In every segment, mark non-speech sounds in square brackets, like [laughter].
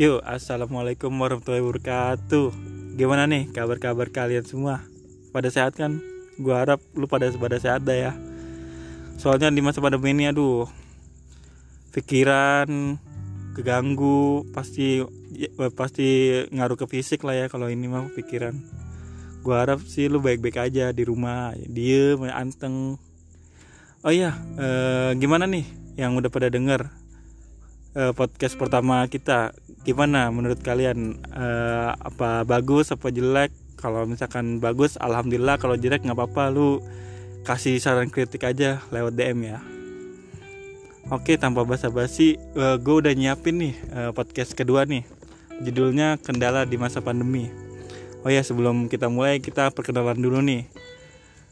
Yuk, assalamualaikum warahmatullahi wabarakatuh. Gimana nih kabar-kabar kalian semua? Pada sehat kan? Gua harap lu pada pada sehat dah ya. Soalnya di masa pandemi ini aduh pikiran keganggu pasti ya, pasti ngaruh ke fisik lah ya kalau ini mah pikiran. Gua harap sih lu baik-baik aja di rumah, diem, anteng. Oh iya, eh, gimana nih yang udah pada denger eh, podcast pertama kita gimana menurut kalian Eh, apa bagus apa jelek kalau misalkan bagus alhamdulillah kalau jelek nggak apa-apa lu kasih saran kritik aja lewat DM ya oke tanpa basa-basi eh, gue udah nyiapin nih eh, podcast kedua nih judulnya kendala di masa pandemi oh ya sebelum kita mulai kita perkenalan dulu nih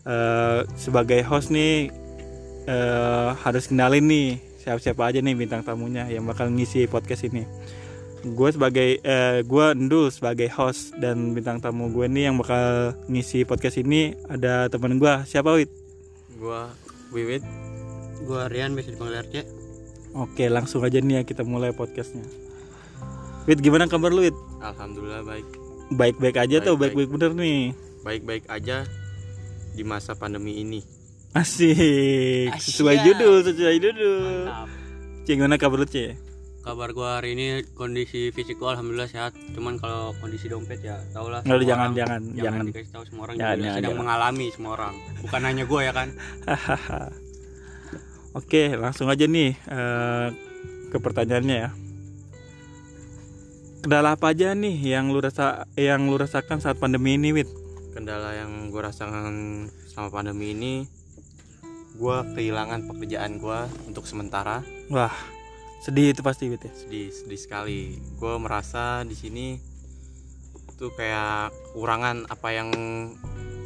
Eh, sebagai host nih eh, harus kenalin nih siapa-siapa aja nih bintang tamunya yang bakal ngisi podcast ini. Gue sebagai eh, gue Endul sebagai host dan bintang tamu gue nih yang bakal ngisi podcast ini ada teman gue siapa Wit? Gua Wiwit Gua Rian bisa dipanggil RC. Oke langsung aja nih ya kita mulai podcastnya. Wit gimana kabar lu Wit? Alhamdulillah baik Baik-baik aja tuh Baik-baik. baik-baik bener nih. Baik-baik aja di masa pandemi ini Asik, sesuai Asyik. judul, sesuai judul. Mantap. Cie gimana kabar lu Cie? Kabar gua hari ini kondisi fisik gua alhamdulillah sehat. Cuman kalau kondisi dompet ya tau lah. Nggak, semua jangan, orang. jangan, jangan. Ya, dikasih tahu semua orang Jangan, juga jangan, sedang jangan. mengalami semua orang. Bukan hanya gua ya kan. Hahaha. Oke, langsung aja nih eh, ke pertanyaannya ya. Kendala apa aja nih yang lu rasa yang lu rasakan saat pandemi ini, Wit? Kendala yang gua rasakan selama pandemi ini Gua kehilangan pekerjaan gua untuk sementara Wah, sedih itu pasti, Wit ya. Sedih, sedih sekali Gua merasa di sini tuh kayak kurangan apa yang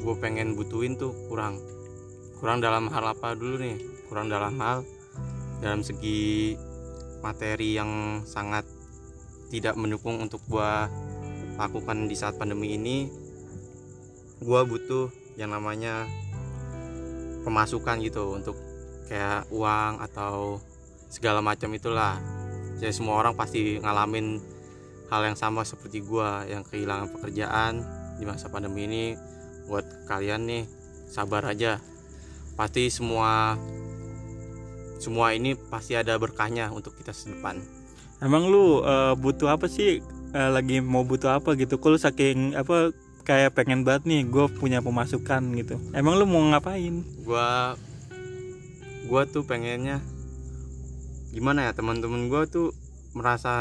gue pengen butuhin tuh kurang kurang dalam hal apa dulu nih kurang dalam hal dalam segi materi yang sangat tidak mendukung untuk gua lakukan di saat pandemi ini gua butuh yang namanya pemasukan gitu untuk kayak uang atau segala macam itulah jadi semua orang pasti ngalamin hal yang sama seperti gua yang kehilangan pekerjaan di masa pandemi ini buat kalian nih sabar aja pasti semua semua ini pasti ada berkahnya untuk kita ke depan Emang lu eh, butuh apa sih? Eh, lagi mau butuh apa gitu? Kok lu saking apa kayak pengen banget nih gue punya pemasukan gitu. Emang lu mau ngapain? gua gua tuh pengennya gimana ya teman-teman gua tuh merasa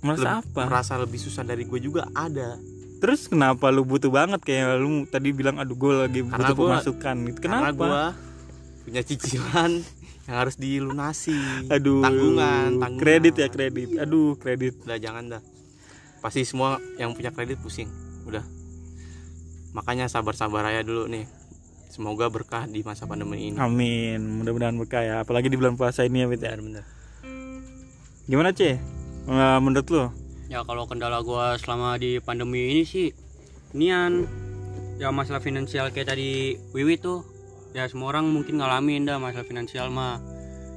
Merasa leb- apa? merasa lebih susah dari gue juga ada Terus kenapa lu butuh banget kayak lu tadi bilang aduh gue lagi Karena butuh gua- pemasukan gitu. Kenapa? karena gua punya cicilan [laughs] yang harus dilunasi Aduh. tanggungan, tanggungan. Kredit ya kredit. Aduh kredit. udah jangan dah pasti semua yang punya kredit pusing udah makanya sabar-sabar aja dulu nih semoga berkah di masa pandemi ini Amin. Mudah-mudahan berkah ya. Apalagi di bulan puasa ini ya Fit ya. Gimana C? Eh, menurut lu? Ya kalau kendala gua selama di pandemi ini sih nian ya masalah finansial kayak tadi Wiwi tuh ya semua orang mungkin ngalamin dah masalah finansial mah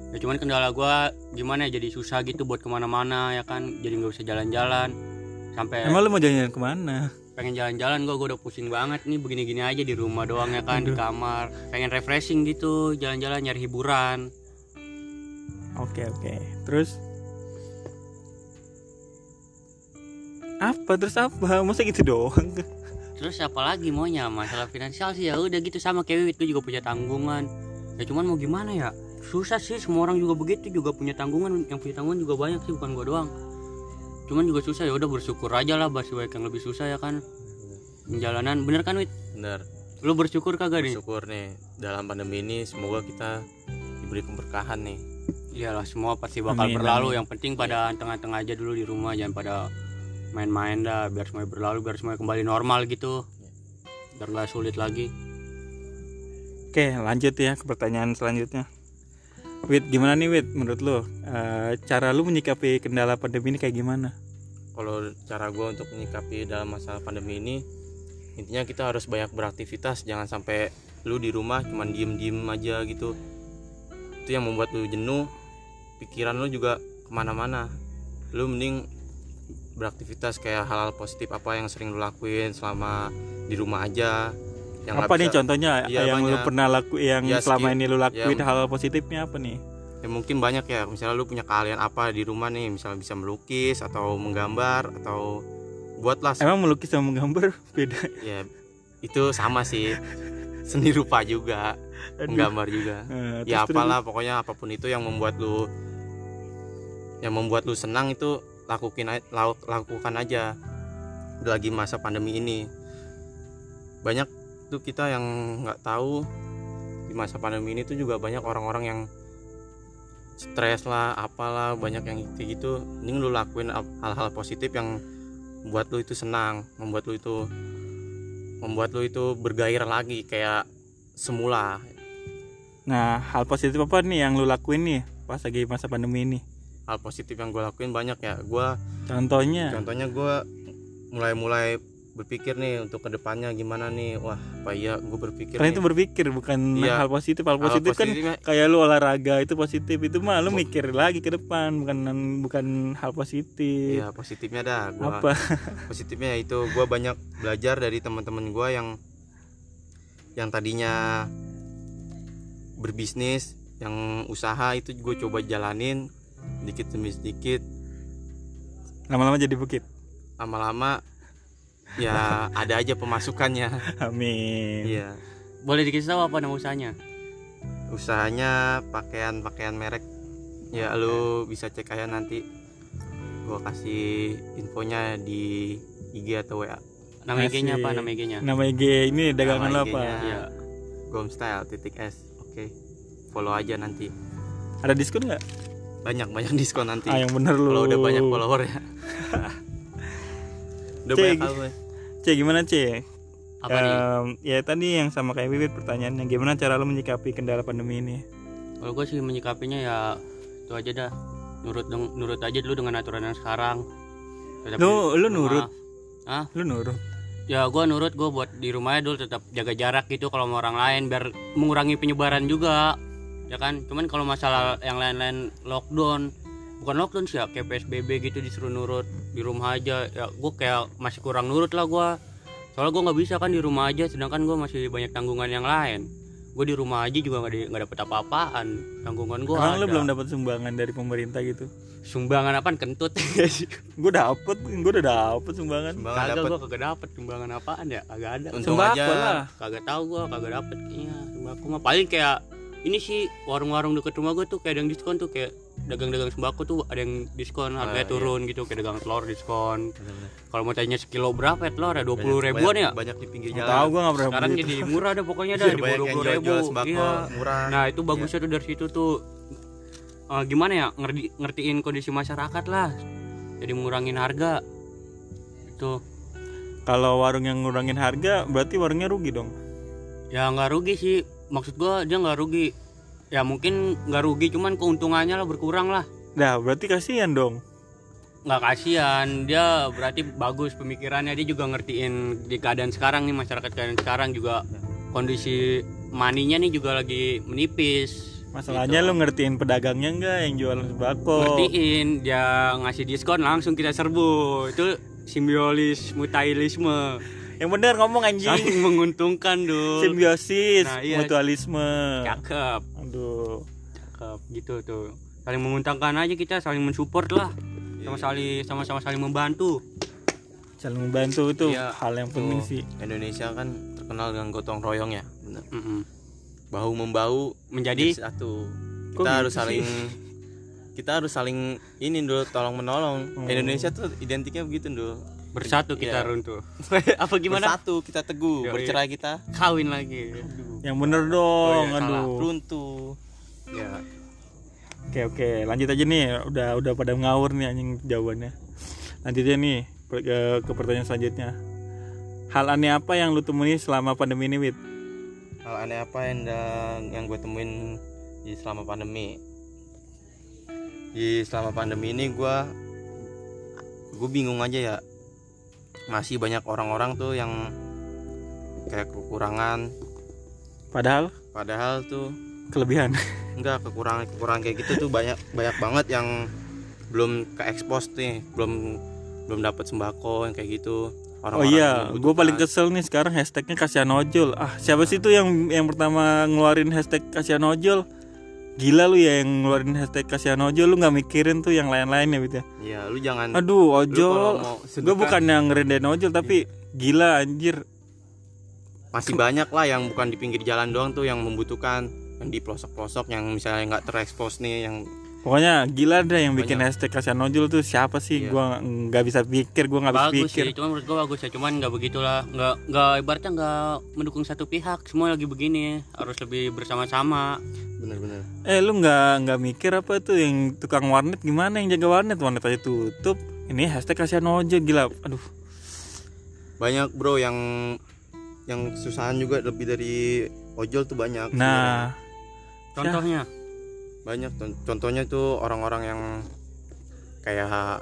ya cuman kendala gua gimana ya jadi susah gitu buat kemana-mana ya kan jadi nggak bisa jalan-jalan sampai Emang lu mau jalan-jalan kemana? pengen jalan-jalan gue gue udah pusing banget nih begini-gini aja di rumah doang ya kan di kamar pengen refreshing gitu jalan-jalan nyari hiburan Oke oke. Terus apa terus apa masa gitu doang terus apa lagi maunya masalah finansial sih ya udah gitu sama kayak Wiwit gue juga punya tanggungan ya cuman mau gimana ya susah sih semua orang juga begitu juga punya tanggungan yang punya tanggungan juga banyak sih bukan gue doang cuman juga susah ya udah bersyukur aja lah masih banyak yang lebih susah ya kan jalanan bener kan Wit bener lu bersyukur kagak nih bersyukur nih dalam pandemi ini semoga kita diberi keberkahan nih Iyalah Ya semua pasti bakal Amin, berlalu. Yang penting pada tengah-tengah aja dulu di rumah jangan pada main-main dah biar semuanya berlalu biar semuanya kembali normal gitu. Biar nggak sulit lagi. oke lanjut ya ke pertanyaan selanjutnya Wit gimana nih Wit menurut lu Eh, cara lu menyikapi kendala pandemi ini kayak gimana kalau cara gue untuk menyikapi dalam masalah pandemi ini intinya kita harus banyak beraktivitas jangan sampai lu di rumah cuman diem diem aja gitu itu yang membuat lu jenuh pikiran lu juga kemana-mana lu mending beraktivitas kayak hal-hal positif apa yang sering lu lakuin selama di rumah aja yang nggak apa nih bisa- contohnya Iya, yang lu banyak. pernah laku yang Iya, selama skill. ini lu lakuin Iya. hal positifnya apa nih? ya mungkin banyak ya misalnya lu punya keahlian apa di rumah nih misalnya bisa melukis atau menggambar atau buatlah se- Emang melukis sama menggambar [laughs] beda. ya itu sama sih seni rupa juga Aduh. menggambar juga Eh, ya terus- terus. apalah pokoknya apapun itu yang membuat lu yang membuat lu senang itu lakukin a- lau- lakukan aja Udah lagi masa pandemi ini banyak tuh kita yang nggak tahu di masa pandemi ini tuh juga banyak orang-orang yang stres lah apalah banyak yang gitu gitu mending lu lakuin ap- hal-hal positif yang membuat lu itu senang membuat lu itu membuat lu itu bergairah lagi kayak semula Nah, hal positif apa nih yang lu lakuin nih pas lagi masa pandemi ini? hal positif yang gue lakuin banyak ya [laughs] gua Contohnya, contohnya gua mulai-mulai berpikir nih untuk kedepannya gimana nih wah apa iya gue berpikir kalian nih, itu berpikir bukan Iya. hal positif. Hal hal positif kan positifnya, kayak lu olahraga itu positif itu mah lu Bu- mikir lagi ke depan bukan bukan hal positif. iya positifnya dah gua Apa? positifnya itu gua banyak belajar dari teman-teman gua yang yang tadinya berbisnis yang usaha itu gue coba jalanin dikit demi sedikit Lama-lama jadi bukit. [laughs] lama-lama ya ada aja pemasukannya Amin. iya Boleh dikasih tahu apa nama usahanya? usahanya pakaian-pakaian merek ya lu bisa cek aja nanti gua kasih infonya di IG atau WA Nama Asik. IG-nya apa? Nama IG-nya? Nama IG ini dagangan lo Nama apa? IG-nya Iya. Gomstyle titik S oke follow aja nanti Ada diskon nggak? banyak banyak [laughs] diskon nanti Ah yang bener lu. Iya. kalau udah banyak follower ya udah Cek. banyak follower. C gimana C? Apa nih? Em, Ya tadi yang sama kayak Wiwit pertanyaannya gimana cara lo menyikapi kendala pandemi ini? Kalau gue sih menyikapinya ya itu aja dah. Nurut dong, nurut aja dulu dengan aturan yang sekarang. Tetap Lu- di lu rumah. nurut? Hah? Lu nurut. Ya gue nurut gue buat di rumahnya dulu tetap jaga jarak gitu kalau sama orang lain biar mengurangi penyebaran juga. Ya kan? Cuman kalau masalah yang lain-lain lockdown bukan lockdown sih ya kayak PSBB gitu disuruh nurut di rumah aja ya gue kayak masih kurang nurut lah gue soalnya gue nggak bisa kan di rumah aja sedangkan gue masih banyak tanggungan yang lain gue di rumah aja juga nggak di- nggak dapet apa-apaan tanggungan gue Emang lu belum dapat sumbangan dari pemerintah gitu? sumbangan apaan kentut Gue dapet, gue udah dapet sumbangan. Sumbangan kagak dapet. gue kagak dapet sumbangan apaan ya kagak ada Untung Sembako aja lah. kagak tahu gua kagak dapet iya sembako mah paling kayak ini sih warung-warung deket rumah gua tuh kayak ada yang diskon tuh kayak dagang-dagang sembako tuh ada yang diskon harganya iya. turun gitu kayak dagang telur diskon kalau mau tanya sekilo berapa ya telur ya dua Banyak- ribuan banyak- ya banyak di pinggir Nggak jalan tahu gue nggak pernah sekarang beli. jadi murah ada pokoknya Iya, dah di bawah banyak yang dua jual- ribu jual sembako iya murah nah itu bagusnya tuh dari situ tuh eh, gimana ya ngerti ngertiin kondisi masyarakat lah jadi mengurangin harga itu Kalau warung yang ngurangin harga, berarti warungnya rugi dong. Ya nggak rugi sih. Maksud gua dia nggak rugi. Ya mungkin nggak rugi, cuman keuntungannya lah berkurang lah. Nah, berarti kasihan dong. Nggak kasihan. Dia berarti bagus pemikirannya. Dia juga ngertiin di keadaan sekarang nih masyarakat keadaan sekarang juga kondisi maninya nih juga lagi menipis. Gitu. Masalahnya lu ngertiin pedagangnya nggak yang jualan sembako? Ngertiin dia ngasih diskon langsung kita serbu. Itu simbiolis mutailisme. Yang bener ngomong anjing. Saling menguntungkan, Dul. Simbiosis, Nah, iya. Ya. mutualisme. Cakep. Aduh. Cakep, gitu tuh saling menguntungkan aja kita saling mensupport lah sama saling sama-sama saling membantu Saling membantu itu Iya, hal yang penting tuh. sih. Indonesia kan terkenal dengan gotong royong ya bener. Mm-mm. bahu membahu menjadi jadi satu Kok kita gitu harus saling kita harus saling ini dulu tolong menolong Hmm. Indonesia tuh identiknya begitu dulu bersatu kita Iya. runtuh [laughs] apa gimana bersatu kita teguh Yoi. bercerai kita kawin lagi Yang bener Oh dong, iya, salah. aduh. runtuh ya Oke oke, lanjut aja nih. Udah udah pada ngawur nih anjing jawabannya. Lanjut aja nih per- ke, ke pertanyaan selanjutnya. Hal aneh apa yang lu temui selama pandemi ini, Wit? hal aneh apa yang da- yang gue temuin di selama pandemi di selama pandemi ini gue gue bingung aja ya masih banyak orang-orang tuh yang kayak kekurangan Padahal padahal tuh kelebihan. enggak kekurangan kekurangan kayak gitu tuh banyak banyak banget yang belum ke expose nih belum belum dapat sembako yang kayak gitu Oh iya, gue paling kesel nih sekarang hashtagnya kasihan ojol. Ah, siapa sih tuh yang yang pertama ngeluarin hashtag kasihan ojol? Gila lu ya yang ngeluarin hashtag kasihan ojol, lu nggak mikirin tuh yang lain-lain ya gitu ya. ya lu jangan Aduh, lu kalau ojol. mau Gue sedekah, Iya. bukan yang ngerendahin ojol tapi gila anjir. masih banyak lah yang bukan di pinggir jalan doang tuh yang membutuhkan yang di pelosok-pelosok yang misalnya nggak terekspos nih yang Pokoknya gila deh yang bikin Banyak. hashtag kasihan ojol tuh siapa sih? Iya. Gua nggak bisa pikir, gua nggak bisa bagus pikir. sih cuman menurut gua bagus ya cuman nggak begitulah nggak nggak ibaratnya nggak mendukung satu pihak semua lagi begini harus lebih bersama-sama bener-bener Eh lu nggak nggak mikir apa tuh yang tukang warnet gimana yang jaga warnet warnet aja tutup. Ini hashtag kasihan ojol gila. Aduh. Iya. banyak bro yang yang kesusahan juga lebih dari ojol tuh banyak Nah, contohnya banyak Con- contohnya itu orang-orang yang kayak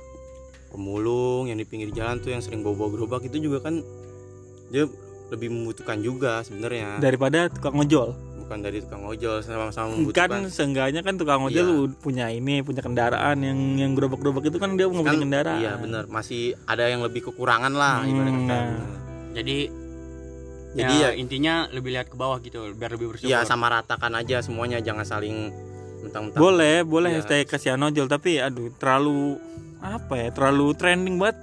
pemulung yang di pinggir jalan tuh yang sering bawa-bawa gerobak itu juga kan dia lebih membutuhkan juga sebenarnya daripada tukang ojol. bukan dari tukang ojol sama-sama Kan membutuhkan seenggaknya kan tukang Iya. ojol punya ini, punya kendaraan yang yang gerobak-gerobak itu kan dia nggak punya Kan- kendaraan. iya benar masih ada yang lebih kekurangan lah Hmm, Iya. ibarat kata. nah. jadi jadi ya, ya, intinya lebih lihat ke bawah gitu biar lebih ya bersyukur sama ratakan aja semuanya jangan saling mentang-mentang Boleh, boleh Iya. hashtag kasihan ojol tapi aduh terlalu apa ya? Terlalu trending banget.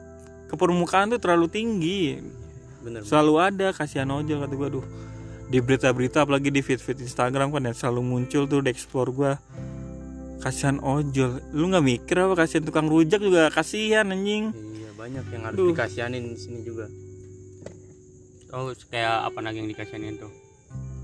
Ke permukaan tuh terlalu tinggi. bener Selalu ada kasihan ojol kata gua aduh. Di berita-berita apalagi di feed-feed Instagram kan yang selalu muncul tuh di explore gua kasihan ojol lu nggak mikir apa kasihan tukang rujak juga kasihan anjing iya banyak yang harus Duh. dikasihanin di sini juga oh kayak apa lagi yang dikasihanin tuh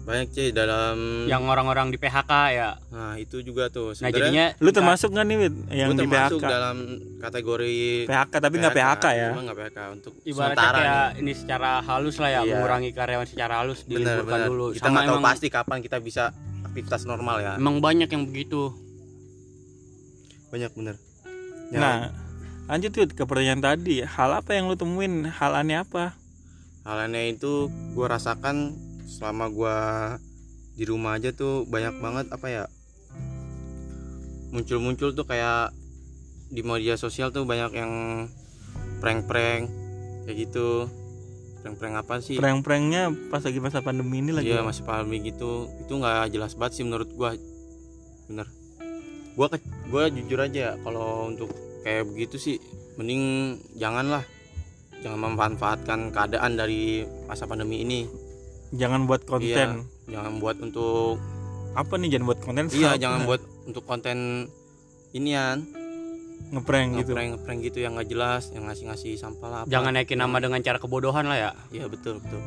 banyak sih dalam yang orang-orang di PHK ya nah itu juga tuh nah sebenarnya jadinya lu termasuk nggak nih Wid, yang Gua di termasuk PHK dalam kategori PHK tapi nggak PHK ya Cuma nggak PHK untuk ibaratnya sementara kayak nih. ini secara halus lah ya Iya. mengurangi karyawan secara halus bener diliburkan bener dulu kita Sama nggak tahu emang- pasti kapan kita bisa aktivitas normal ya Hmm. emang banyak yang begitu banyak bener Ya, nah lanjut Wid, ke pertanyaan tadi hal apa yang lu temuin hal aneh apa halnya itu gua rasakan selama gua di rumah aja tuh banyak banget apa ya muncul-muncul tuh kayak di media sosial tuh banyak yang prank-prank kayak gitu prank-prank apa sih prank-pranknya pas lagi masa pandemi ini lagi Iya masih pandemi gitu itu nggak jelas banget sih menurut gua bener gua ke, gua jujur aja ya kalau untuk kayak begitu sih mending janganlah jangan memanfaatkan keadaan dari masa pandemi ini jangan buat Iya. konten jangan buat untuk apa nih jangan buat konten [laughs] iya salah. jangan buat untuk konten inian ngeprank gitu ngeprank ngeprank gitu yang nggak jelas yang ngasih ngasih sampah lah apa. jangan naikin nama dengan cara kebodohan lah ya iya betul betul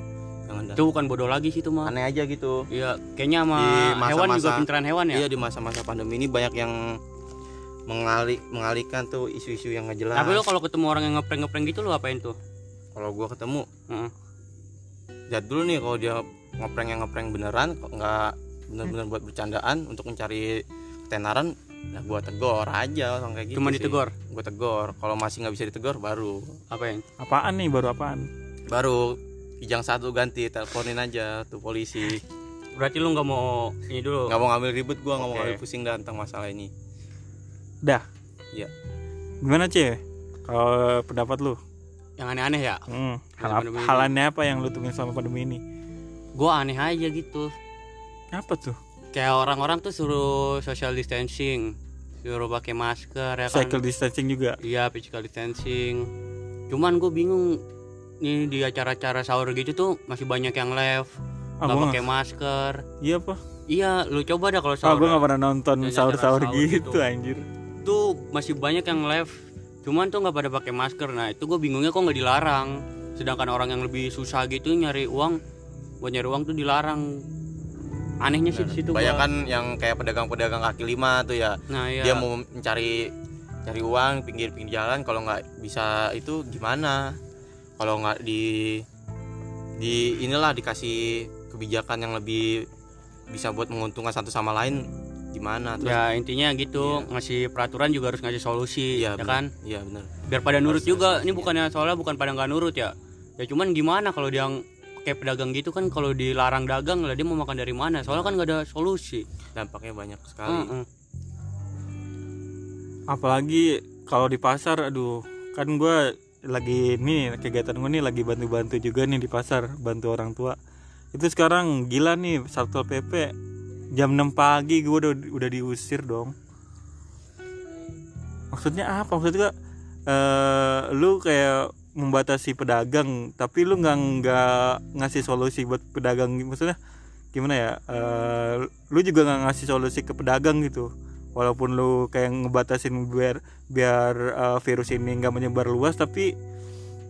jangan dah. itu bukan bodoh lagi sih itu mah aneh aja gitu Iya, kayaknya sama Di masa-masa- hewan juga pinteran hewan ya. Iya di masa-masa pandemi ini banyak yang mengali mengalihkan tuh isu-isu yang nggak jelas. Tapi lo kalau ketemu orang yang ngeprank-ngeprank gitu lo apain tuh? kalau gua ketemu, Heeh. lihat dulu nih kalau dia ngeprank yang ngeprank beneran, kok nggak bener-bener buat bercandaan untuk mencari ketenaran, nah gua tegor aja orang kayak gitu. Cuma sih. ditegor, Gua tegor. Kalau masih nggak bisa ditegor baru apain? apaan nih baru apaan baru kijang satu ganti teleponin aja tuh polisi Berarti lo nggak mau ini dulu. nggak mau ngambil ribut gua nggak mau Oke. ngambil pusing dah tentang masalah ini gimana cewek kalau pendapat lu Yang aneh-aneh ya. hmm. hal, Masa apa- pandemi ini. hal aneh apa yang lu temuin selama pandemi ini Gua aneh aja gitu. apa tuh Kayak orang-orang tuh suruh social distancing, suruh pakai masker ya kan. cycle distancing juga Iya, physical distancing. Cuman gue bingung nih di acara-acara sahur gitu tuh masih banyak yang left, ah, nggak gua pakai nggak- masker. iya apa Iya, lu coba dah kalau ah, sahur. gua nggak pernah nonton Yang acara sahur-sahur sahur gitu gitu. anjir tuh masih banyak yang live cuman tuh nggak pada pakai masker nah itu gue bingungnya kok nggak dilarang sedangkan orang yang lebih susah gitu nyari uang buat nyari uang tuh dilarang anehnya sih di situ gua. banyak kan yang kayak pedagang-pedagang kaki lima tuh ya nah iya dia mau mencari cari uang pinggir-pinggir jalan kalau nggak bisa itu gimana kalau nggak di di inilah dikasih kebijakan yang lebih bisa buat menguntungkan satu sama lain gimana terus ya intinya gitu Iya. ngasih peraturan juga harus ngasih solusi iya ya kan iya benar biar pada nurut Harus juga ngasih ini solusi. bukannya soalnya bukan pada nggak nurut ya ya cuman gimana kalau dia yang kayak pedagang gitu kan kalau dilarang dagang lah dia mau makan dari mana soalnya kan nggak ada solusi dampaknya banyak sekali Heeh. apalagi kalau di pasar aduh kan gue lagi ini nih, kegiatan gue nih lagi bantu-bantu juga nih di pasar bantu orang tua itu sekarang gila nih satpol pp jam 6 pagi gue udah udah diusir dong maksudnya apa maksudnya eh, lu kayak membatasi pedagang tapi lu nggak nggak ngasih solusi buat pedagang maksudnya gimana ya eh, lu juga nggak ngasih solusi ke pedagang gitu walaupun lu kayak ngebatasin biar biar eh, virus ini nggak menyebar luas tapi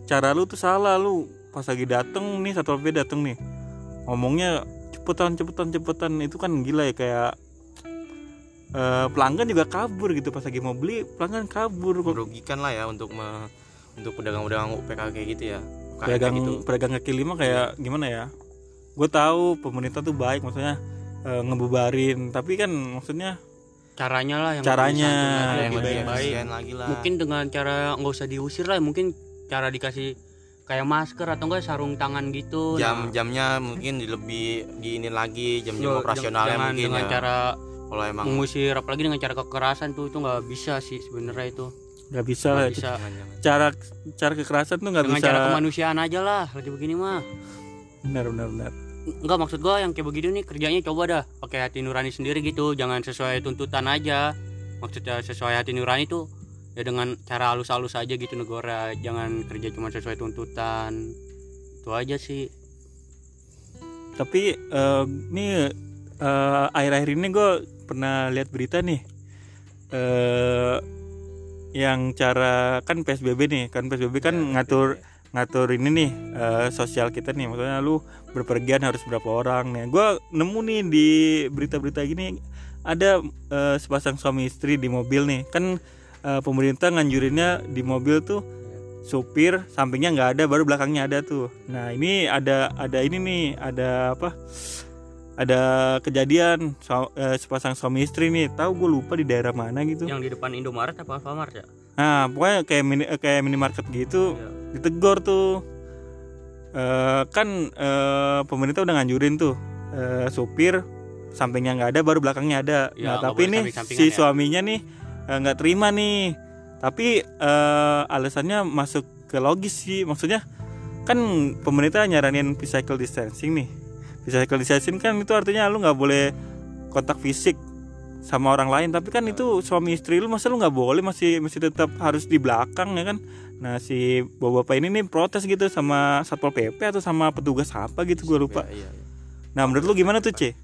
cara lu tuh salah lu pas lagi dateng nih satpol pp dateng nih ngomongnya cepetan cepetan cepetan itu kan gila ya kayak eh, pelanggan juga kabur gitu pas lagi mau beli pelanggan kabur kok merugikan lah ya untuk me- untuk pedagang-pedagang UPKG gitu ya UKM kayak pedagang gitu pedagang kaki lima Iya. kayak gimana ya gue tahu pemerintah tuh baik maksudnya eh, ngebubarin tapi kan maksudnya caranya lah yang Caranya. lebih ada santun, Nah, yang lebih lebih baik-baik. efisien lagi lah mungkin dengan cara nggak usah diusir lah mungkin cara dikasih kayak masker atau enggak sarung tangan gitu Nah, jam-jamnya mungkin di- lebih diinin lagi yo, jam-jam operasionalnya jangan mungkin dengan ya cara Iya. kalau emang mengusir apalagi dengan cara kekerasan tuh itu nggak bisa sih sebenarnya itu nggak bisa nggak lah bisa jangan-jangan. cara cara kekerasan tuh nggak dengan bisa cara kemanusiaan aja lah lagi begini mah benar benar benar Enggak maksud gua yang kayak begini nih kerjanya coba dah pakai hati nurani sendiri gitu jangan sesuai tuntutan aja maksudnya sesuai hati nurani tuh ya dengan cara halus-halus aja gitu negara jangan kerja cuma sesuai tuntutan itu aja sih tapi eh, ini eh, akhir-akhir ini gue pernah lihat berita nih eh yang cara kan psbb nih kan psbb kan Ya, ngatur ngatur ini nih eh, sosial kita nih maksudnya lu berpergian harus berapa orang nih gua nemu nih di berita-berita gini ada eh, sepasang suami istri di mobil nih kan eh, pemerintah nganjurinnya di mobil tuh supir sampingnya nggak ada baru belakangnya ada tuh nah ini ada ada ini nih ada apa ada kejadian so- eh, sepasang suami istri nih tahu gue lupa di daerah mana gitu yang di depan Indomaret apa Alfamart ya nah pokoknya kayak mini eh, kayak minimarket gitu Iya. ditegor tuh Eh, kan eh, pemerintah udah nganjurin tuh eh, supir sampingnya nggak ada baru belakangnya ada Iya, nah nggak tapi boleh nih samping-sampingan si ya. suaminya nih eh, nggak terima nih tapi eh, alasannya masuk ke logis sih maksudnya kan pemerintah nyaranin physical distancing nih physical distancing kan itu artinya lu nggak boleh kontak fisik sama orang lain tapi kan itu suami istri lu masa lu nggak boleh masih masih tetap harus di belakang ya kan nah si bapak-bapak ini nih protes gitu sama satpol pp atau sama petugas apa gitu gue lupa Iya, iya. nah menurut lu gimana tuh c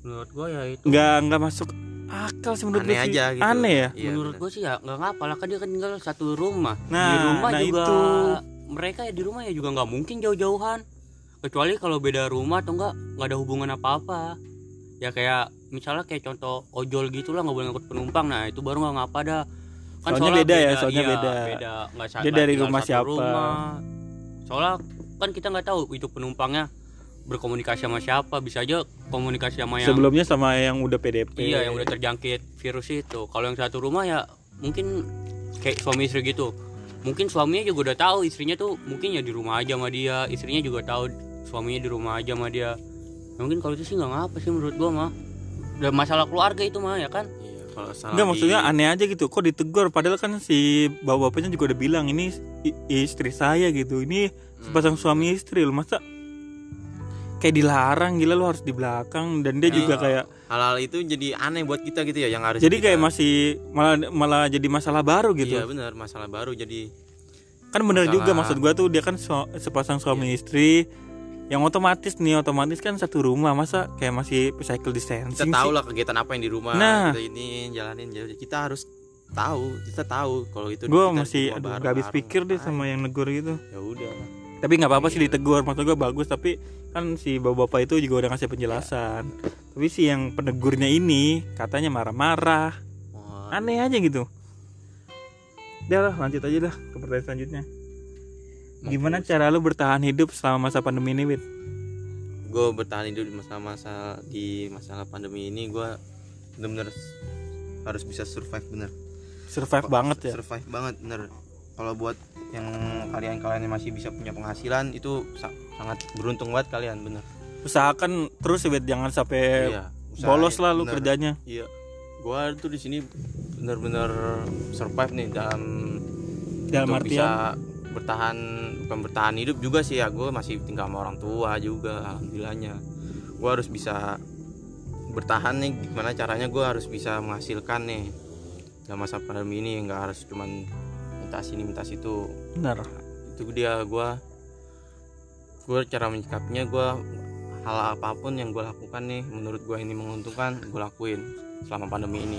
menurut gua ya itu nggak nggak masuk akal sih menurut aneh gua sih. aja gitu aneh ya Iya, menurut bener. gua sih ya nggak ngapa lah kan dia kan tinggal satu rumah di Nah, rumah nah juga itu. mereka ya di rumah ya juga nggak mungkin jauh-jauhan kecuali kalau beda rumah atau enggak nggak ada hubungan apa-apa ya kayak misalnya kayak contoh ojol gitu lah nggak boleh ngikut penumpang nah itu baru nggak ngapa dah kan Soalnya beda ya, soalnya iya, beda. beda nggak sa- Dia nggak dari tinggal rumah satu siapa. rumah. soalnya kan kita nggak tahu itu penumpangnya berkomunikasi sama siapa bisa aja komunikasi sama yang sebelumnya sama yang udah pdp Iya yang udah terjangkit virus itu. Kalau yang satu rumah ya mungkin kayak suami istri gitu. Mungkin suaminya juga udah tahu istrinya tuh mungkin ya di rumah aja sama dia. Istrinya juga tahu suaminya di rumah aja sama dia. Ya, mungkin kalau itu sih nggak ngapa sih menurut gua mah. Udah masalah keluarga itu mah ya kan. Iya, kalau salah Enggak di- maksudnya aneh aja gitu kok ditegur padahal kan si bapak-bapaknya juga udah bilang ini i- istri saya gitu ini sepasang Hmm. suami istri lu masa kayak dilarang gila lu harus di belakang dan dia Ya. juga kayak hal-hal itu jadi aneh buat kita gitu ya yang harus jadi kita- kayak masih malah malah jadi masalah baru gitu iya benar masalah baru jadi kan bener masalah. Iya. juga maksud gua tuh dia kan su- sepasang suami istri yang otomatis nih otomatis kan satu rumah masa kayak masih cycle kita distancing tahu sih? lah kegiatan apa yang di rumah Nah. kita ini jalanin jadi kita harus tahu kita tahu kalau itu gue kita masih semua aduh, bareng- gak habis bareng. pikir deh Ah, sama yang negor gitu ya udah tapi nggak apa-apa sih ditegur maksud gue bagus tapi kan si bapak-bapak itu juga udah ngasih penjelasan tapi si yang penegurnya ini katanya marah-marah Wah, aneh aja gitu udah lah lanjut aja dah ke pertanyaan selanjutnya gimana cara lu bertahan hidup selama masa pandemi ini Wit? gue bertahan hidup di masa-masa di masalah pandemi ini gue bener-bener harus bisa survive bener survive Pak, banget ya survive banget bener kalau buat yang kalian-kalian yang masih bisa punya penghasilan itu sa- sangat beruntung banget kalian bener usahakan terus Wit jangan sampai iya usahain, Eh, bolos lah lu bener. kerjanya Iya, gua tuh di sini benar-benar survive nih dalam dalam untuk artian bisa bertahan bukan bertahan hidup juga sih ya gue masih tinggal sama orang tua juga alhamdulillahnya gue harus bisa bertahan nih gimana caranya gue harus bisa menghasilkan nih dalam masa pandemi ini nggak harus cuman minta sini minta situ benar itu dia gue gue cara menyikapinya gue hal apapun yang gue lakukan nih menurut gue ini menguntungkan gue lakuin selama pandemi ini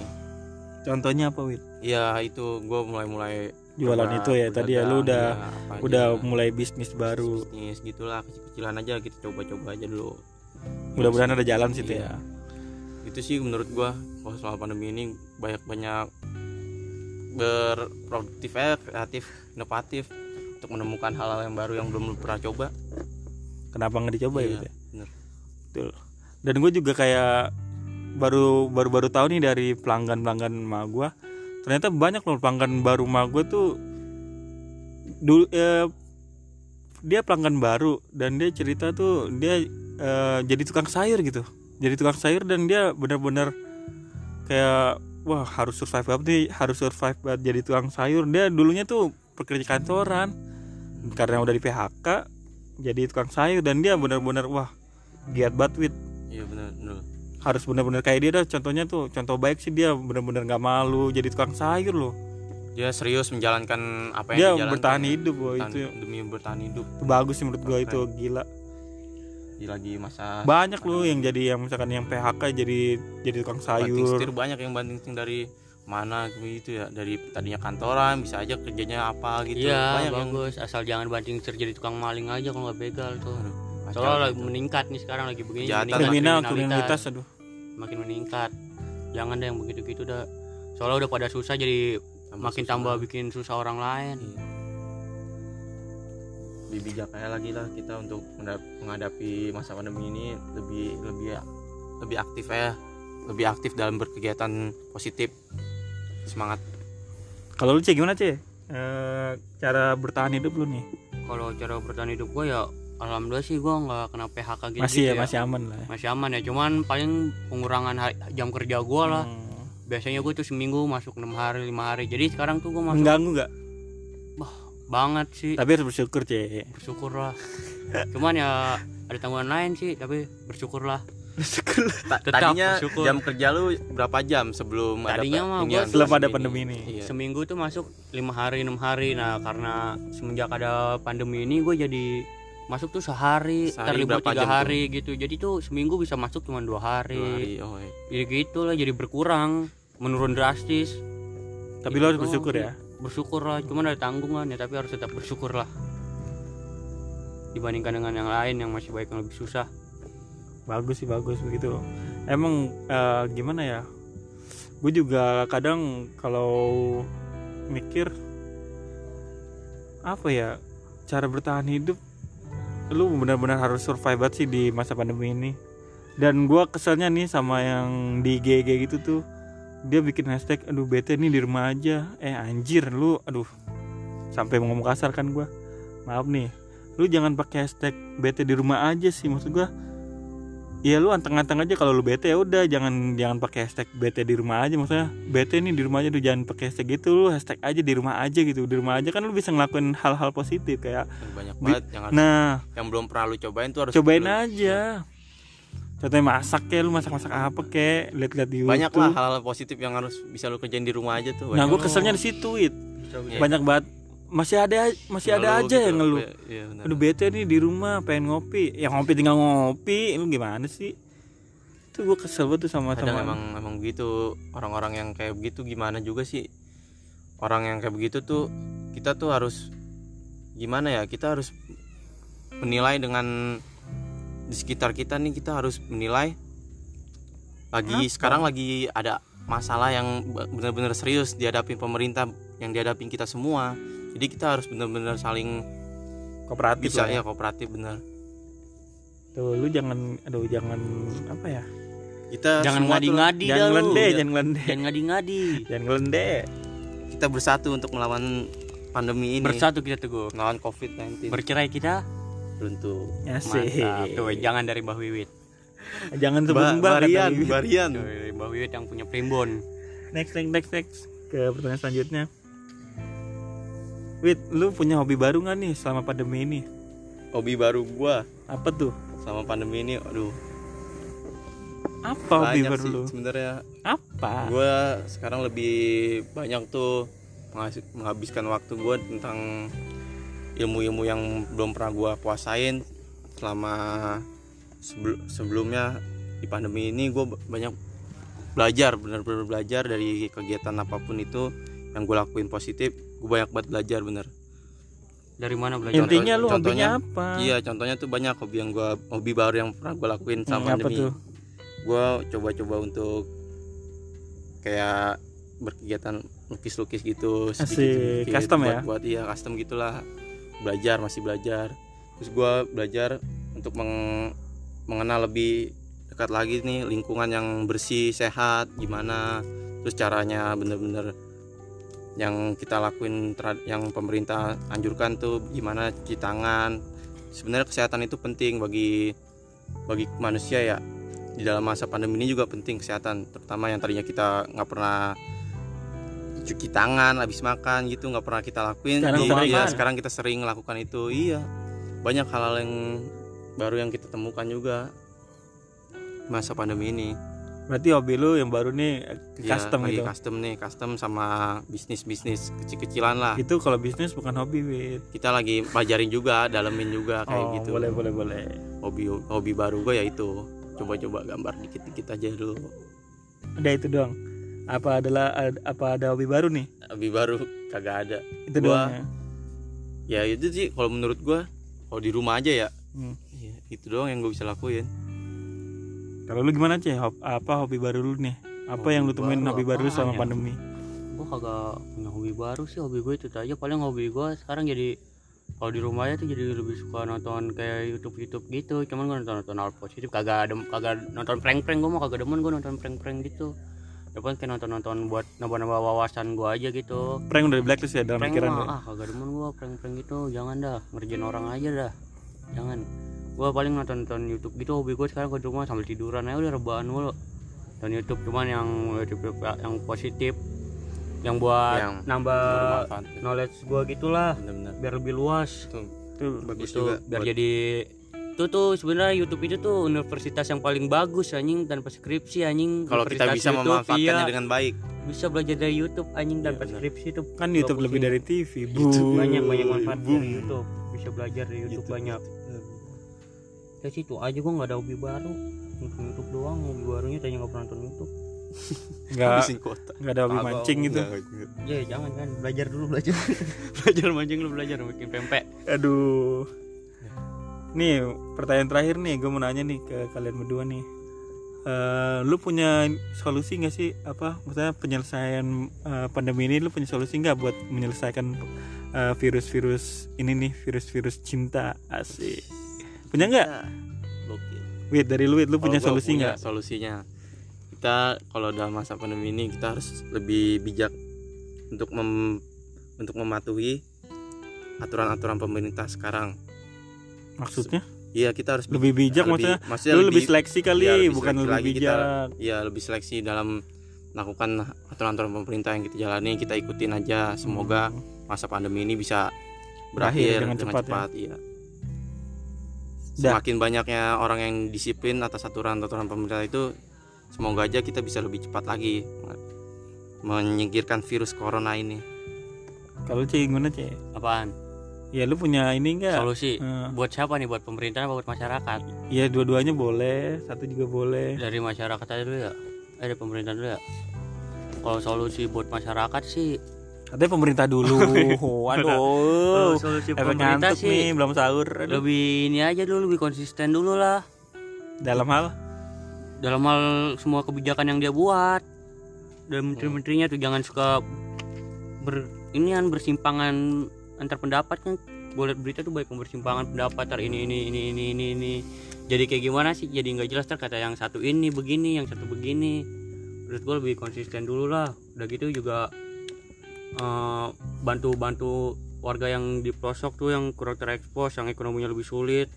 contohnya apa Wit iya itu gue mulai mulai jualan itu ya tadi ya lu udah iya, udah mulai bisnis baru bisnis gitulah kecil-kecilan aja kita coba-coba aja dulu mudah-mudahan ada jalan situ Iya. ya itu sih menurut gua kalau selama pandemi ini banyak-banyak berproduktif eh, kreatif inovatif untuk menemukan hal-hal yang baru yang belum lu pernah coba kenapa nggak dicoba ya Iya, Wit ya? bener. betul dan gue juga kayak baru baru baru tahu nih dari pelanggan pelanggan ma gue ternyata banyak loh pelanggan baru ma gue tuh dulu eh, dia pelanggan baru dan dia cerita tuh dia eh, jadi tukang sayur gitu jadi tukang sayur dan dia benar-benar kayak wah harus survive banget nih harus survive banget jadi tukang sayur dia dulunya tuh pekerja kantoran karena udah di PHK jadi tukang sayur dan dia benar-benar wah giat banget Wit. iya benar benar harus benar-benar kayak dia dah contohnya tuh contoh baik sih dia benar-benar nggak malu jadi tukang sayur loh dia serius menjalankan apa yang dia dijalankan. bertahan hidup wah Bertahan- itu demi bertahan hidup itu bagus sih menurut gue Keren. itu gila di lagi masa banyak loh yang jadi yang misalkan yang PHK jadi jadi tukang banting sayur setir banyak yang banting setir dari mana gitu ya dari tadinya kantoran bisa aja kerjanya apa gitu iya banyak yang bagus asal jangan banting setir jadi tukang maling aja kalau nggak begal tuh Aduh, kacau soalnya lagi gitu. meningkat nih sekarang lagi begini Kejahatan. meningkat kriminal kriminalitas. kriminalitas aduh makin meningkat jangan deh yang begitu gitu dah soalnya udah pada susah jadi makin susah tambah lagi. bikin susah orang lain lebih bijak aja lagi lah kita untuk mendap- menghadapi masa pandemi ini lebih lebih lebih aktif ya lebih aktif dalam berkegiatan positif semangat kalau lu cie gimana cie Eh, cara bertahan hidup lu nih kalau cara bertahan hidup gue ya alhamdulillah sih gue nggak kena PHK gitu masih ya ya. masih aman lah ya. Masih aman ya cuman paling pengurangan hari- jam kerja gue lah Hmm. biasanya gue tuh seminggu masuk enam hari lima hari jadi sekarang tuh gue masuk mengganggu nggak banget sih tapi harus bersyukur cie bersyukur lah cuman ya ada tanggungan lain sih tapi bersyukur lah bersyukur Ta- Tetap tadinya bersyukur. jam kerja lu berapa jam sebelum Tadinya mah ini gua ya, sebelum ada pandemi ini. Iya. seminggu tuh masuk lima hari enam hari nah karena semenjak ada pandemi ini gue jadi masuk tuh sehari, Sehari terlibur berapa tiga jam hari gitu jadi tuh seminggu bisa masuk cuma dua hari, Dua hari, oh, iya. jadi gitu lah jadi berkurang menurun drastis tapi lu harus bersyukur ya bersyukur lah cuman ada tanggungan ya tapi harus tetap bersyukur lah dibandingkan dengan yang lain yang masih baik yang lebih susah bagus sih bagus begitu emang eh, gimana ya gue juga kadang kalau mikir apa ya cara bertahan hidup lu benar-benar harus survive banget sih di masa pandemi ini dan gua keselnya nih sama yang di GG gitu tuh dia bikin hashtag aduh bete nih di rumah aja eh anjir lu aduh sampai ngomong kasar kan gua maaf nih lu jangan pakai hashtag bete di rumah aja sih maksud gua ya lu anteng-anteng aja kalau lu bete ya udah jangan jangan pakai hashtag bete di rumah aja maksudnya bete nih di rumah aja tuh jangan pakai hashtag gitu lu hashtag aja di rumah aja gitu di rumah aja kan lu bisa ngelakuin hal-hal positif kayak banyak Bi- banget yang harus- nah yang belum pernah lu cobain tuh harus cobain dulu. aja contohnya masak ya lu masak masak apa kek lihat-lihat di YouTube banyak lah hal-hal positif yang harus bisa lu kerjain di rumah aja tuh nah banyak. gue keselnya di situ Wit. Iya. banyak banget masih ada masih ada Ngeluh aja gitu. yang ngeluh Iya, benar. aduh bete nih di rumah pengen ngopi ya ngopi tinggal ngopi lu gimana sih itu gue kesel banget tuh sama kadang teman emang emang begitu orang-orang yang kayak begitu gimana juga sih orang yang kayak begitu tuh kita tuh harus gimana ya kita harus menilai dengan di sekitar kita nih kita harus menilai Apa? lagi sekarang lagi ada masalah yang be- benar-benar serius dihadapi pemerintah yang dihadapi kita semua jadi kita harus benar-benar saling kooperatif bisa Gitu lah ya kooperatif benar tuh lu jangan aduh jangan apa ya kita jangan semua tuh ngadi-ngadi jangan dah lu ngelende iya. jangan ngelende jangan ngadi-ngadi jangan ngelende kita bersatu untuk melawan pandemi ini bersatu kita teguh melawan covid-19 bercerai kita beruntung Asik. mantap tuh jangan dari Mbah Wiwit jangan sebut Ba- mbak kata Oh, iya. barian Wiwit. barian Tuh, dari Mbah Wiwit yang punya primbon next next next next ke pertanyaan selanjutnya Wit, lu punya hobi baru nggak nih selama pandemi ini? hobi baru gua Apa tuh? sama pandemi ini aduh Apa hobi banyak baru sih lu? Ah. sebenarnya Apa? gua sekarang lebih banyak tuh menghas- menghabiskan waktu gua tentang ilmu-ilmu yang belum pernah gua kuasain selama sebel- sebelumnya di pandemi ini gua b- banyak belajar bener-bener belajar dari kegiatan apapun itu yang gue lakuin positif gue banyak banget belajar bener dari mana belajar Inti- Intinya lu Iya, contohnya- hobinya apa? iya contohnya tuh banyak hobi yang gua hobi baru yang pernah gue lakuin Hmm, sama apa pandemi tuh? gua coba-coba untuk kayak berkegiatan lukis-lukis gitu Asik, sedikit-sedikit, custom buat, ya? buat iya custom gitulah belajar masih belajar terus gua belajar untuk meng- mengenal lebih dekat lagi nih lingkungan yang bersih sehat gimana terus caranya bener-bener yang kita lakuin terhad- yang pemerintah anjurkan tuh gimana cuci tangan sebenarnya kesehatan itu penting bagi bagi manusia ya di dalam masa pandemi ini juga penting kesehatan terutama yang tadinya kita nggak pernah cuci tangan habis makan gitu nggak pernah kita lakuin Sekarang Di- sering iya, kan? sekarang kita sering lakukan itu iya banyak hal-hal yang baru yang kita temukan juga masa pandemi ini Berarti hobi lu yang baru nih Iya, custom lagi gitu. custom nih custom sama bisnis bisnis kecil-kecilan lah Itu kalau bisnis bukan hobi, Wit. kita lagi pelajarin juga dalemin juga kayak oh, gitu boleh boleh boleh. hobi hobi baru gue ya itu coba-coba gambar dikit-dikit aja dulu Udah itu doang. Apa adalah ad- apa ada hobi baru nih? hobi baru kagak ada Itu Gua- doang. ya? ya itu sih kalau menurut gua kalau di rumah aja ya Hmm. Eh, Iya, itu doang yang gue bisa lakuin Kalau lu gimana, Ceh? Hob- Apa hobi baru lu nih? Apa Hobi yang lu temuin baru hobi baru apaan selama ya? pandemi? gue kagak punya hobi baru sih hobi gue itu aja paling hobi gue sekarang jadi kalau di rumah aja tuh jadi lebih suka nonton kayak YouTube YouTube gitu cuman gue nonton nonton hal positif kagak adem kagak nonton prank prank gue mau kagak demen gue nonton prank prank gitu depan kayak nonton nonton buat nambah nambah wawasan gue aja gitu Prank udah di blacklist ya dalam prank pikiran lu. mah ah kagak demen gue prank prank gitu jangan dah ngerjain orang aja dah jangan gue paling nonton nonton YouTube gitu hobi gue sekarang gue di rumah sambil tiduran aja udah rebahan mulu dan YouTube cuman yang YouTube yang positif yang buat Yang nambah bermanfaat ya. knowledge gua gitulah benar-benar biar lebih luas itu Tuh. bagus itu juga biar buat- jadi itu tuh sebenarnya YouTube itu tuh universitas yang paling bagus anjing tanpa skripsi anjing kalau kita Universitas bisa YouTube, memanfaatkannya iya. dengan baik bisa belajar dari YouTube anjing Iya, tanpa benar. skripsi itu Kan YouTube bagus lebih sih. dari TV, YouTube Bu. banyak banyak manfaat Boom. dari YouTube bisa belajar dari YouTube, gitu. banyak ya sih itu aja gua nggak ada hobi baru nonton YouTube doang hobi barunya tanya nggak pernah nonton YouTube Enggak Habisin kuota. enggak ada hobi Kagak, mancing gitu. enggak, enggak. ya jangan kan belajar dulu belajar [laughs] belajar mancing lu belajar bikin pempek Aduh. Nih, pertanyaan terakhir nih, gue mau nanya nih ke kalian berdua nih. Eh, lu punya solusi nggak sih apa maksudnya penyelesaian eh, pandemi ini lu punya solusi nggak buat menyelesaikan eh, virus-virus ini nih virus-virus cinta asik punya nggak Ya, gokil. wait dari lu Wid, lu punya Kalau Oh, gua solusi punya nggak solusinya kita kalau dalam masa pandemi ini kita harus lebih bijak untuk mem- untuk mematuhi aturan-aturan pemerintah sekarang maksudnya iya kita harus lebih bijak maksudnya maksudnya lu lebih seleksi kali iya, lebih bukan seleksi lebih lagi kita. bijak ya lebih seleksi dalam melakukan aturan-aturan pemerintah yang kita jalani kita ikutin aja semoga masa pandemi ini bisa Berakhir berakhir dengan dengan, cepat cepat, ya. iya. Dah. semakin banyaknya orang yang disiplin atas aturan-aturan pemerintah itu semoga aja kita bisa lebih cepat lagi menyingkirkan virus corona ini kalau cie gimana cie apaan ya lu punya ini nggak solusi Eh, buat siapa nih buat pemerintah apa buat masyarakat ya dua-duanya boleh satu juga boleh dari masyarakat aja dulu ya eh dari pemerintah dulu ya kalau solusi buat masyarakat sih Katanya pemerintah dulu. kalau Aduh. solusi Efek pemerintah ngantuk nih, sih belum sahur. Aduh. lebih ini aja dulu lebih konsisten dulu lah Dalam hal dalam hal semua kebijakan yang dia buat dan menteri-menterinya tuh jangan suka ber inian bersimpangan antar pendapat kan gue liat berita tuh banyak yang bersimpangan pendapat tar ini ini ini ini ini ini jadi kayak gimana sih jadi nggak jelas tar kata yang satu ini begini yang satu begini menurut gue lebih konsisten dulu lah udah gitu juga eh, bantu-bantu warga yang di pelosok tuh yang kurang terekspos yang ekonominya lebih sulit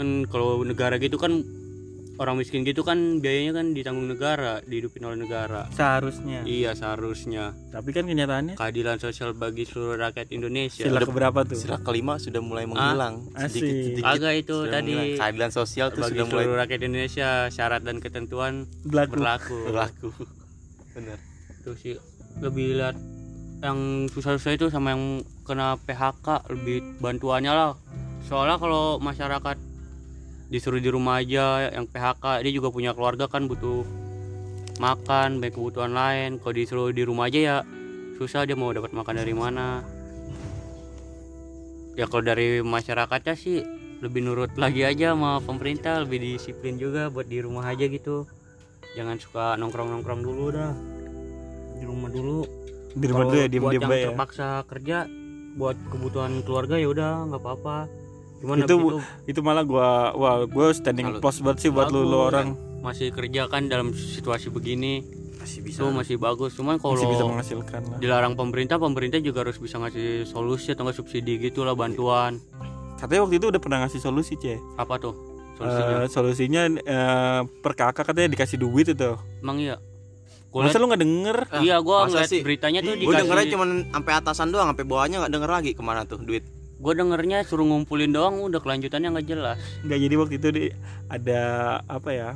kan kalau negara gitu kan orang miskin gitu kan biayanya kan ditanggung negara dihidupin oleh negara seharusnya iya seharusnya tapi kan kenyataannya keadilan sosial bagi seluruh rakyat Indonesia sila keberapa tuh Ah, Sila kelima sudah mulai menghilang Asik. sedikit-sedikit. agak itu Sudah tadi menghilang. keadilan sosial itu bagi sudah mulai seluruh rakyat Indonesia syarat dan ketentuan berlaku berlaku berlaku. Benar. Tuh Gitu sih lebih lihat yang susah-susah itu sama yang kena PHK lebih bantuannya lah soalnya kalau masyarakat disuruh di rumah aja yang PHK dia juga punya keluarga kan butuh makan banyak kebutuhan lain kalau disuruh di rumah aja ya susah dia mau dapat makan dari mana ya kalau dari masyarakatnya sih lebih nurut lagi aja sama pemerintah lebih disiplin juga buat di rumah aja gitu jangan suka nongkrong nongkrong dulu dah di rumah dulu di rumah dulu ya Kalau diem buat diem yang ya terpaksa kerja buat kebutuhan keluarga ya udah nggak apa-apa cuman Itu habis bu- itu malah gua wah gua standing Kalau- plus banget sih buat lu, lu Bagus. orang masih kerja kan dalam situasi begini Masih bisa. itu masih bagus cuman masih bisa kalau menghasilkan lah dilarang pemerintah pemerintah juga harus bisa ngasih solusi atau nggak subsidi gitulah bantuan katanya waktu itu udah pernah ngasih solusi cie apa tuh solusinya solusinya, solusinya eh, per kakak katanya dikasih duit itu emang iya Gua masa liat- lu nggak denger Ah, iya gua masa ngeliat sih? beritanya tuh Ih, Gue dikasih- dengernya cuma sampai atasan doang, sampai bawahnya nggak denger lagi kemana tuh duit. gue dengernya suruh ngumpulin doang udah kelanjutannya nggak jelas nggak jadi waktu itu di, ada apa ya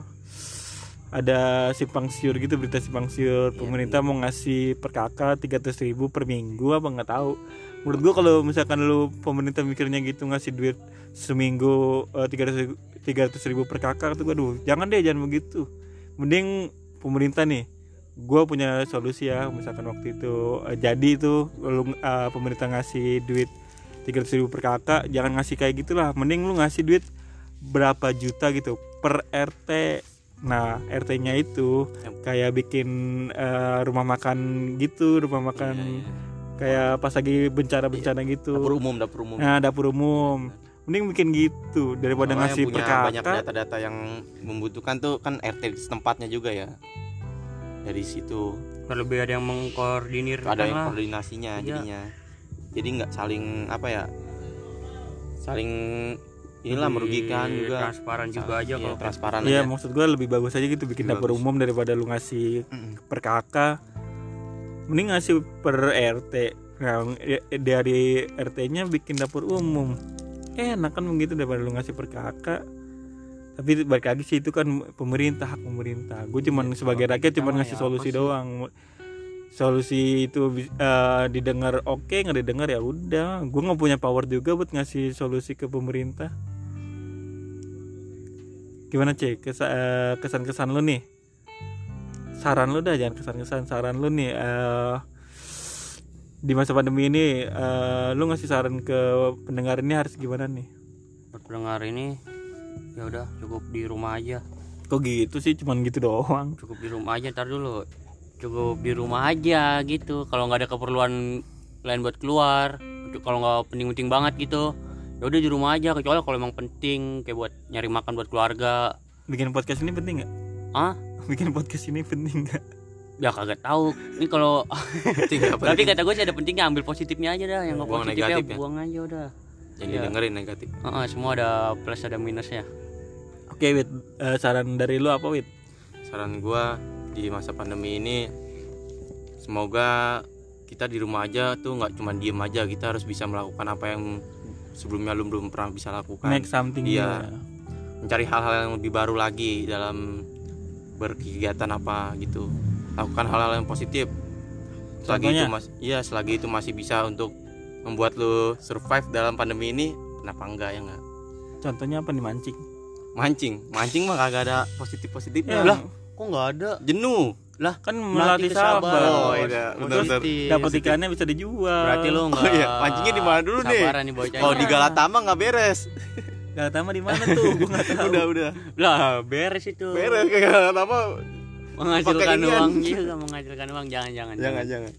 ada simpang siur gitu berita simpang siur pemerintah mau ngasih per kakak 300.000 ribu per minggu apa nggak tahu menurut gua kalau misalkan lu pemerintah mikirnya gitu ngasih duit seminggu eh, tiga ratus ribu per kakak tuh gua aduh jangan deh jangan begitu mending pemerintah nih gua punya solusi ya misalkan waktu itu eh, jadi itu lu eh, pemerintah ngasih duit 300 ribu per kakak jangan ngasih kayak gitulah mending lu ngasih duit berapa juta gitu per RT nah RT-nya itu Yap. kayak bikin eh, rumah makan gitu rumah makan kayak pas lagi bencana-bencana gitu Iya, Dapur umum, dapur umum. nah dapur umum mending bikin gitu daripada Soalnya ngasih yang per punya banyak kakak data-data yang membutuhkan tuh kan RT setempatnya juga ya. Dari situ lebih ada yang mengkoordinir ada yang lah Iya. koordinasinya jadinya. Jadi nggak saling apa ya? Saling inilah Lebih merugikan juga. transparan juga aja Iya, kalau gitu. transparan ya aja. maksud gua lebih bagus aja gitu bikin Lebih dapur bagus. umum daripada lu ngasih [laughs] Mm-mm. per kakak mending ngasih per RT nah, i- dari RT-nya bikin dapur umum enak kan begitu daripada lu ngasih per kakak tapi balik lagi sih itu kan pemerintah hak pemerintah gue cuman sebagai rakyat Iya, kita cuman mah ngasih ya solusi apa sih? doang solusi itu bi- eh, didengar oke nggak didengar ya udah gue nggak punya power juga buat ngasih solusi ke pemerintah gimana cek kesan kesan lu nih saran lu dah jangan kesan kesan saran lu nih eh, di masa pandemi ini eh, lu ngasih saran ke pendengar ini harus gimana nih buat pendengar ini ya udah cukup di rumah aja kok gitu sih cuman gitu [laughs] doang cukup di rumah aja ntar dulu cukup di rumah aja gitu kalau nggak ada keperluan lain buat keluar Untuk- kalau nggak penting-penting banget gitu ya udah di rumah aja kecuali kalau emang penting kayak buat nyari makan buat keluarga bikin podcast ini penting nggak ah bikin podcast ini penting nggak ya kagak tahu ini kalau [laughs] Penting nggak tapi penting. kata gue sih ada pentingnya ambil positifnya aja dah yang nggak Buang positif ya negatifnya. buang aja udah Jangan Iya. didengerin negatif. Heeh, semua ada plus ada minusnya oke wit Eh, saran dari lu apa wit saran gua di masa pandemi ini semoga kita di rumah aja tuh nggak cuma diem aja kita harus bisa melakukan apa yang sebelumnya lu belum pernah bisa lakukan make something Iya. new. mencari hal-hal yang lebih baru lagi dalam berkegiatan apa gitu lakukan hal-hal yang positif selagi Contohnya? itu mas iya selagi itu masih bisa untuk membuat lu survive dalam pandemi ini kenapa enggak ya enggak contohnya apa nih mancing mancing mancing mah kagak ada positif positifnya Ya, Lah. kok nggak ada jenuh kan melatih sabar Oh, iya, benar-benar. dapat ikannya bisa dijual berarti lo nggak Oh iya, pancingnya di mana dulu nih? sabaran nih bocahnya. oh di Galatama nggak beres Galatama di mana tuh gua nggak tahu udah udah lah beres itu beres ke Galatama menghasilkan Pakai inian. uang juga menghasilkan uang jangan jangan jangan jangan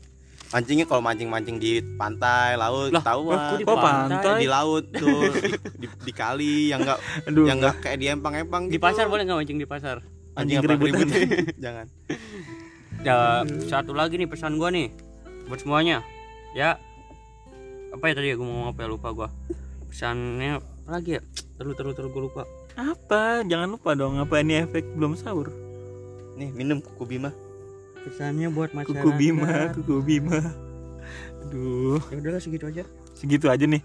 mancingnya kalau mancing mancing di pantai laut Lah, tahu Wah, kan kok di Wah, pantai di laut tuh di, di- di kali yang nggak aduh yang nggak kayak di empang-empang di gitu. pasar boleh nggak mancing di pasar Anjing mancing apa keributan. [laughs] keributan. jangan ya satu lagi nih pesan gua nih buat semuanya ya apa ya tadi ya gue mau ngomong apa ya lupa gua pesannya apa lagi ya terlalu terlalu terlalu gue lupa Apa? Jangan lupa dong apa ini efek belum sahur. Nih minum kuku bima. pesannya buat masyarakat Kuku Bima, kuku Bima. Aduh, ya udahlah segitu aja segitu aja nih.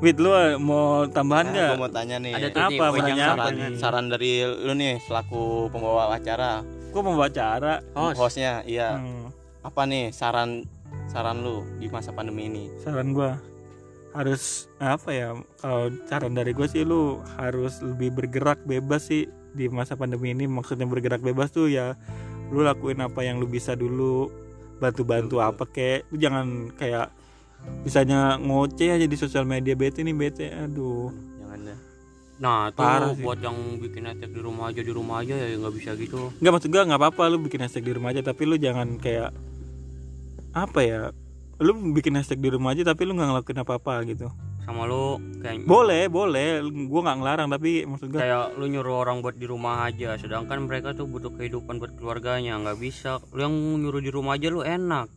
Wait, lu mau tambahan Nah, nggak? gua mau tanya nih. Ada tuh Apa? Hmm. nih, Mau Bojang nanya apa saran, saran. nih? saran dari lu nih selaku pembawa acara, Gua mau baca cara. Oh. host hostnya, iya. Hmm. Apa nih saran saran lu di masa pandemi ini? saran gua harus apa ya kalau saran dari gue sih lu harus lebih bergerak bebas sih di masa pandemi ini maksudnya bergerak bebas tuh ya lu lakuin apa yang lu bisa dulu bantu-bantu Betul. apa kek lu jangan kayak misalnya ngoceh aja di sosial media bete nih bete aduh Jangan deh. nah tuh Parah sih. buat yang bikin attack di rumah aja di rumah aja ya nggak bisa gitu nggak maksud gua nggak apa-apa lu bikin hashtag di rumah aja tapi lu jangan kayak apa ya lu bikin hashtag di rumah aja tapi lu nggak ngelakuin apa-apa gitu sama lu kayak boleh boleh gua nggak ngelarang tapi maksud gua kayak lu nyuruh orang buat di rumah aja sedangkan mereka tuh butuh kehidupan buat keluarganya nggak bisa lu yang nyuruh di rumah aja lu enak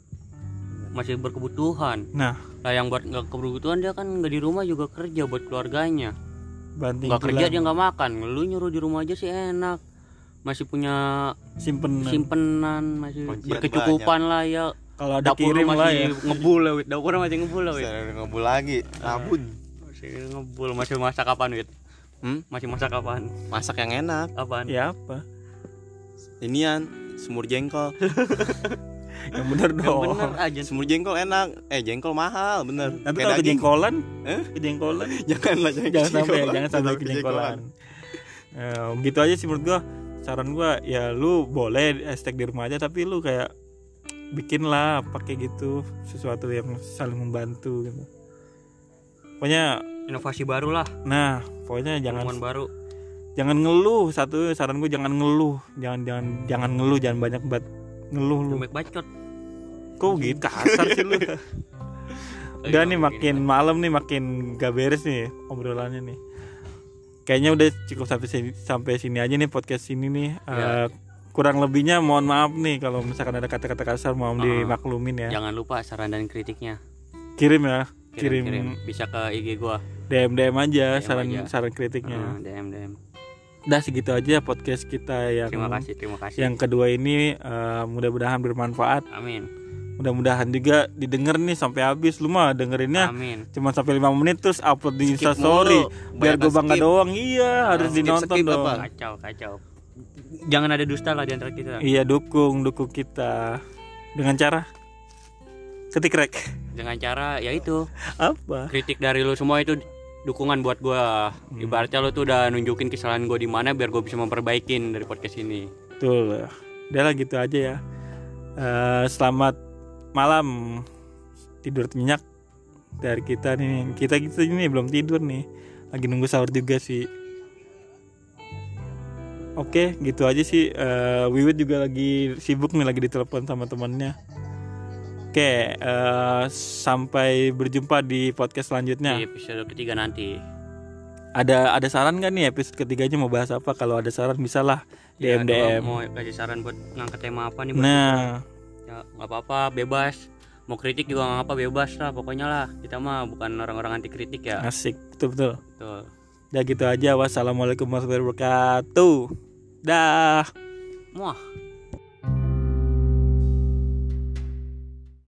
masih berkebutuhan Nah. lah yang buat nggak kebutuhan dia kan nggak di rumah juga kerja buat keluarganya banting nggak kerja dia tulang, nggak makan lu nyuruh di rumah aja sih enak masih punya simpenan simpenan masih Kuncian berkecukupan lah ya kalau ada dapur lu kirim lah ya masih ngebul lah wit dapur lu masih ngebul Oh, iya. lah wit Saya ngebul lagi, rabun. masih ngebul masih masak kapan wit Hmm? masih masak kapan Masak yang enak. apaan ya apa Inian semur [laughs] jengkol. yang bener yang dong bener aja Semur jengkol enak. Eh jengkol mahal, bener. tapi kalau Kayak daging. [laughs] kejengkolan Eh? kejengkolan janganlah [laughs] jangan sampai jangan sampai kejengkolan Eh, gitu aja sih menurut gua saran gua ya lu boleh hashtag di rumah aja tapi lu kayak bikinlah pakai gitu sesuatu yang saling membantu gitu pokoknya inovasi baru lah nah pokoknya jangan jangan baru jangan ngeluh satu saran gua jangan ngeluh jangan jangan jangan ngeluh jangan banyak banget ngeluh lu Comek bacot Kok gitu kasar sih lu Udah nih makin malam nih makin gak beres nih obrolannya nih Kayaknya udah cukup sampai sini, sampai sini aja nih podcast ini nih Eh, Kurang lebihnya mohon maaf nih kalau misalkan ada kata-kata kasar mohon Ah. dimaklumin ya jangan lupa saran dan kritiknya Kirim ya Kirim. kirim, kirim. bisa ke IG gua DM-DM aja DM saran aja. saran kritiknya Hmm, DM DM Udah segitu aja podcast kita yang terima kasih terima kasih Ya. yang kedua ini eh, mudah-mudahan bermanfaat amin Mudah-mudahan juga didengar nih sampai habis Lu mah dengerinnya amin cuma sampai 5 menit terus upload di Skip Instastory mulu, biar gue kebanyakan bangga skip. Nah, doang iya harus skip, dinonton skip dong apa? kacau kacau jangan ada dusta lah di antara kita iya dukung dukung kita dengan cara ketik rek dengan cara ya itu apa kritik dari lu semua itu dukungan buat gua Hmm. ibaratnya lu tuh udah nunjukin kesalahan gua di mana biar gua bisa memperbaikin dari podcast ini betul udah lah gitu aja ya Eh, selamat malam tidur nyenyak dari kita nih kita kita ini belum tidur nih lagi nunggu sahur juga sih Oke, gitu aja sih. Eh, Wiwit juga lagi sibuk nih, lagi ditelepon sama temannya. Oke, eh, sampai berjumpa di podcast selanjutnya. di episode ketiga nanti Ada ada saran nggak nih episode ketiganya mau bahas apa? Kalau ada saran bisalah Ya, DM kalau DM. mau kasih saran buat ngangkat tema apa nih buat Nah, ya nggak apa-apa bebas mau kritik juga nggak apa bebas lah pokoknya lah kita mah bukan orang-orang anti kritik ya asik, betul betul. betul Udah gitu aja. Wassalamualaikum warahmatullahi wabarakatuh. Dah. muah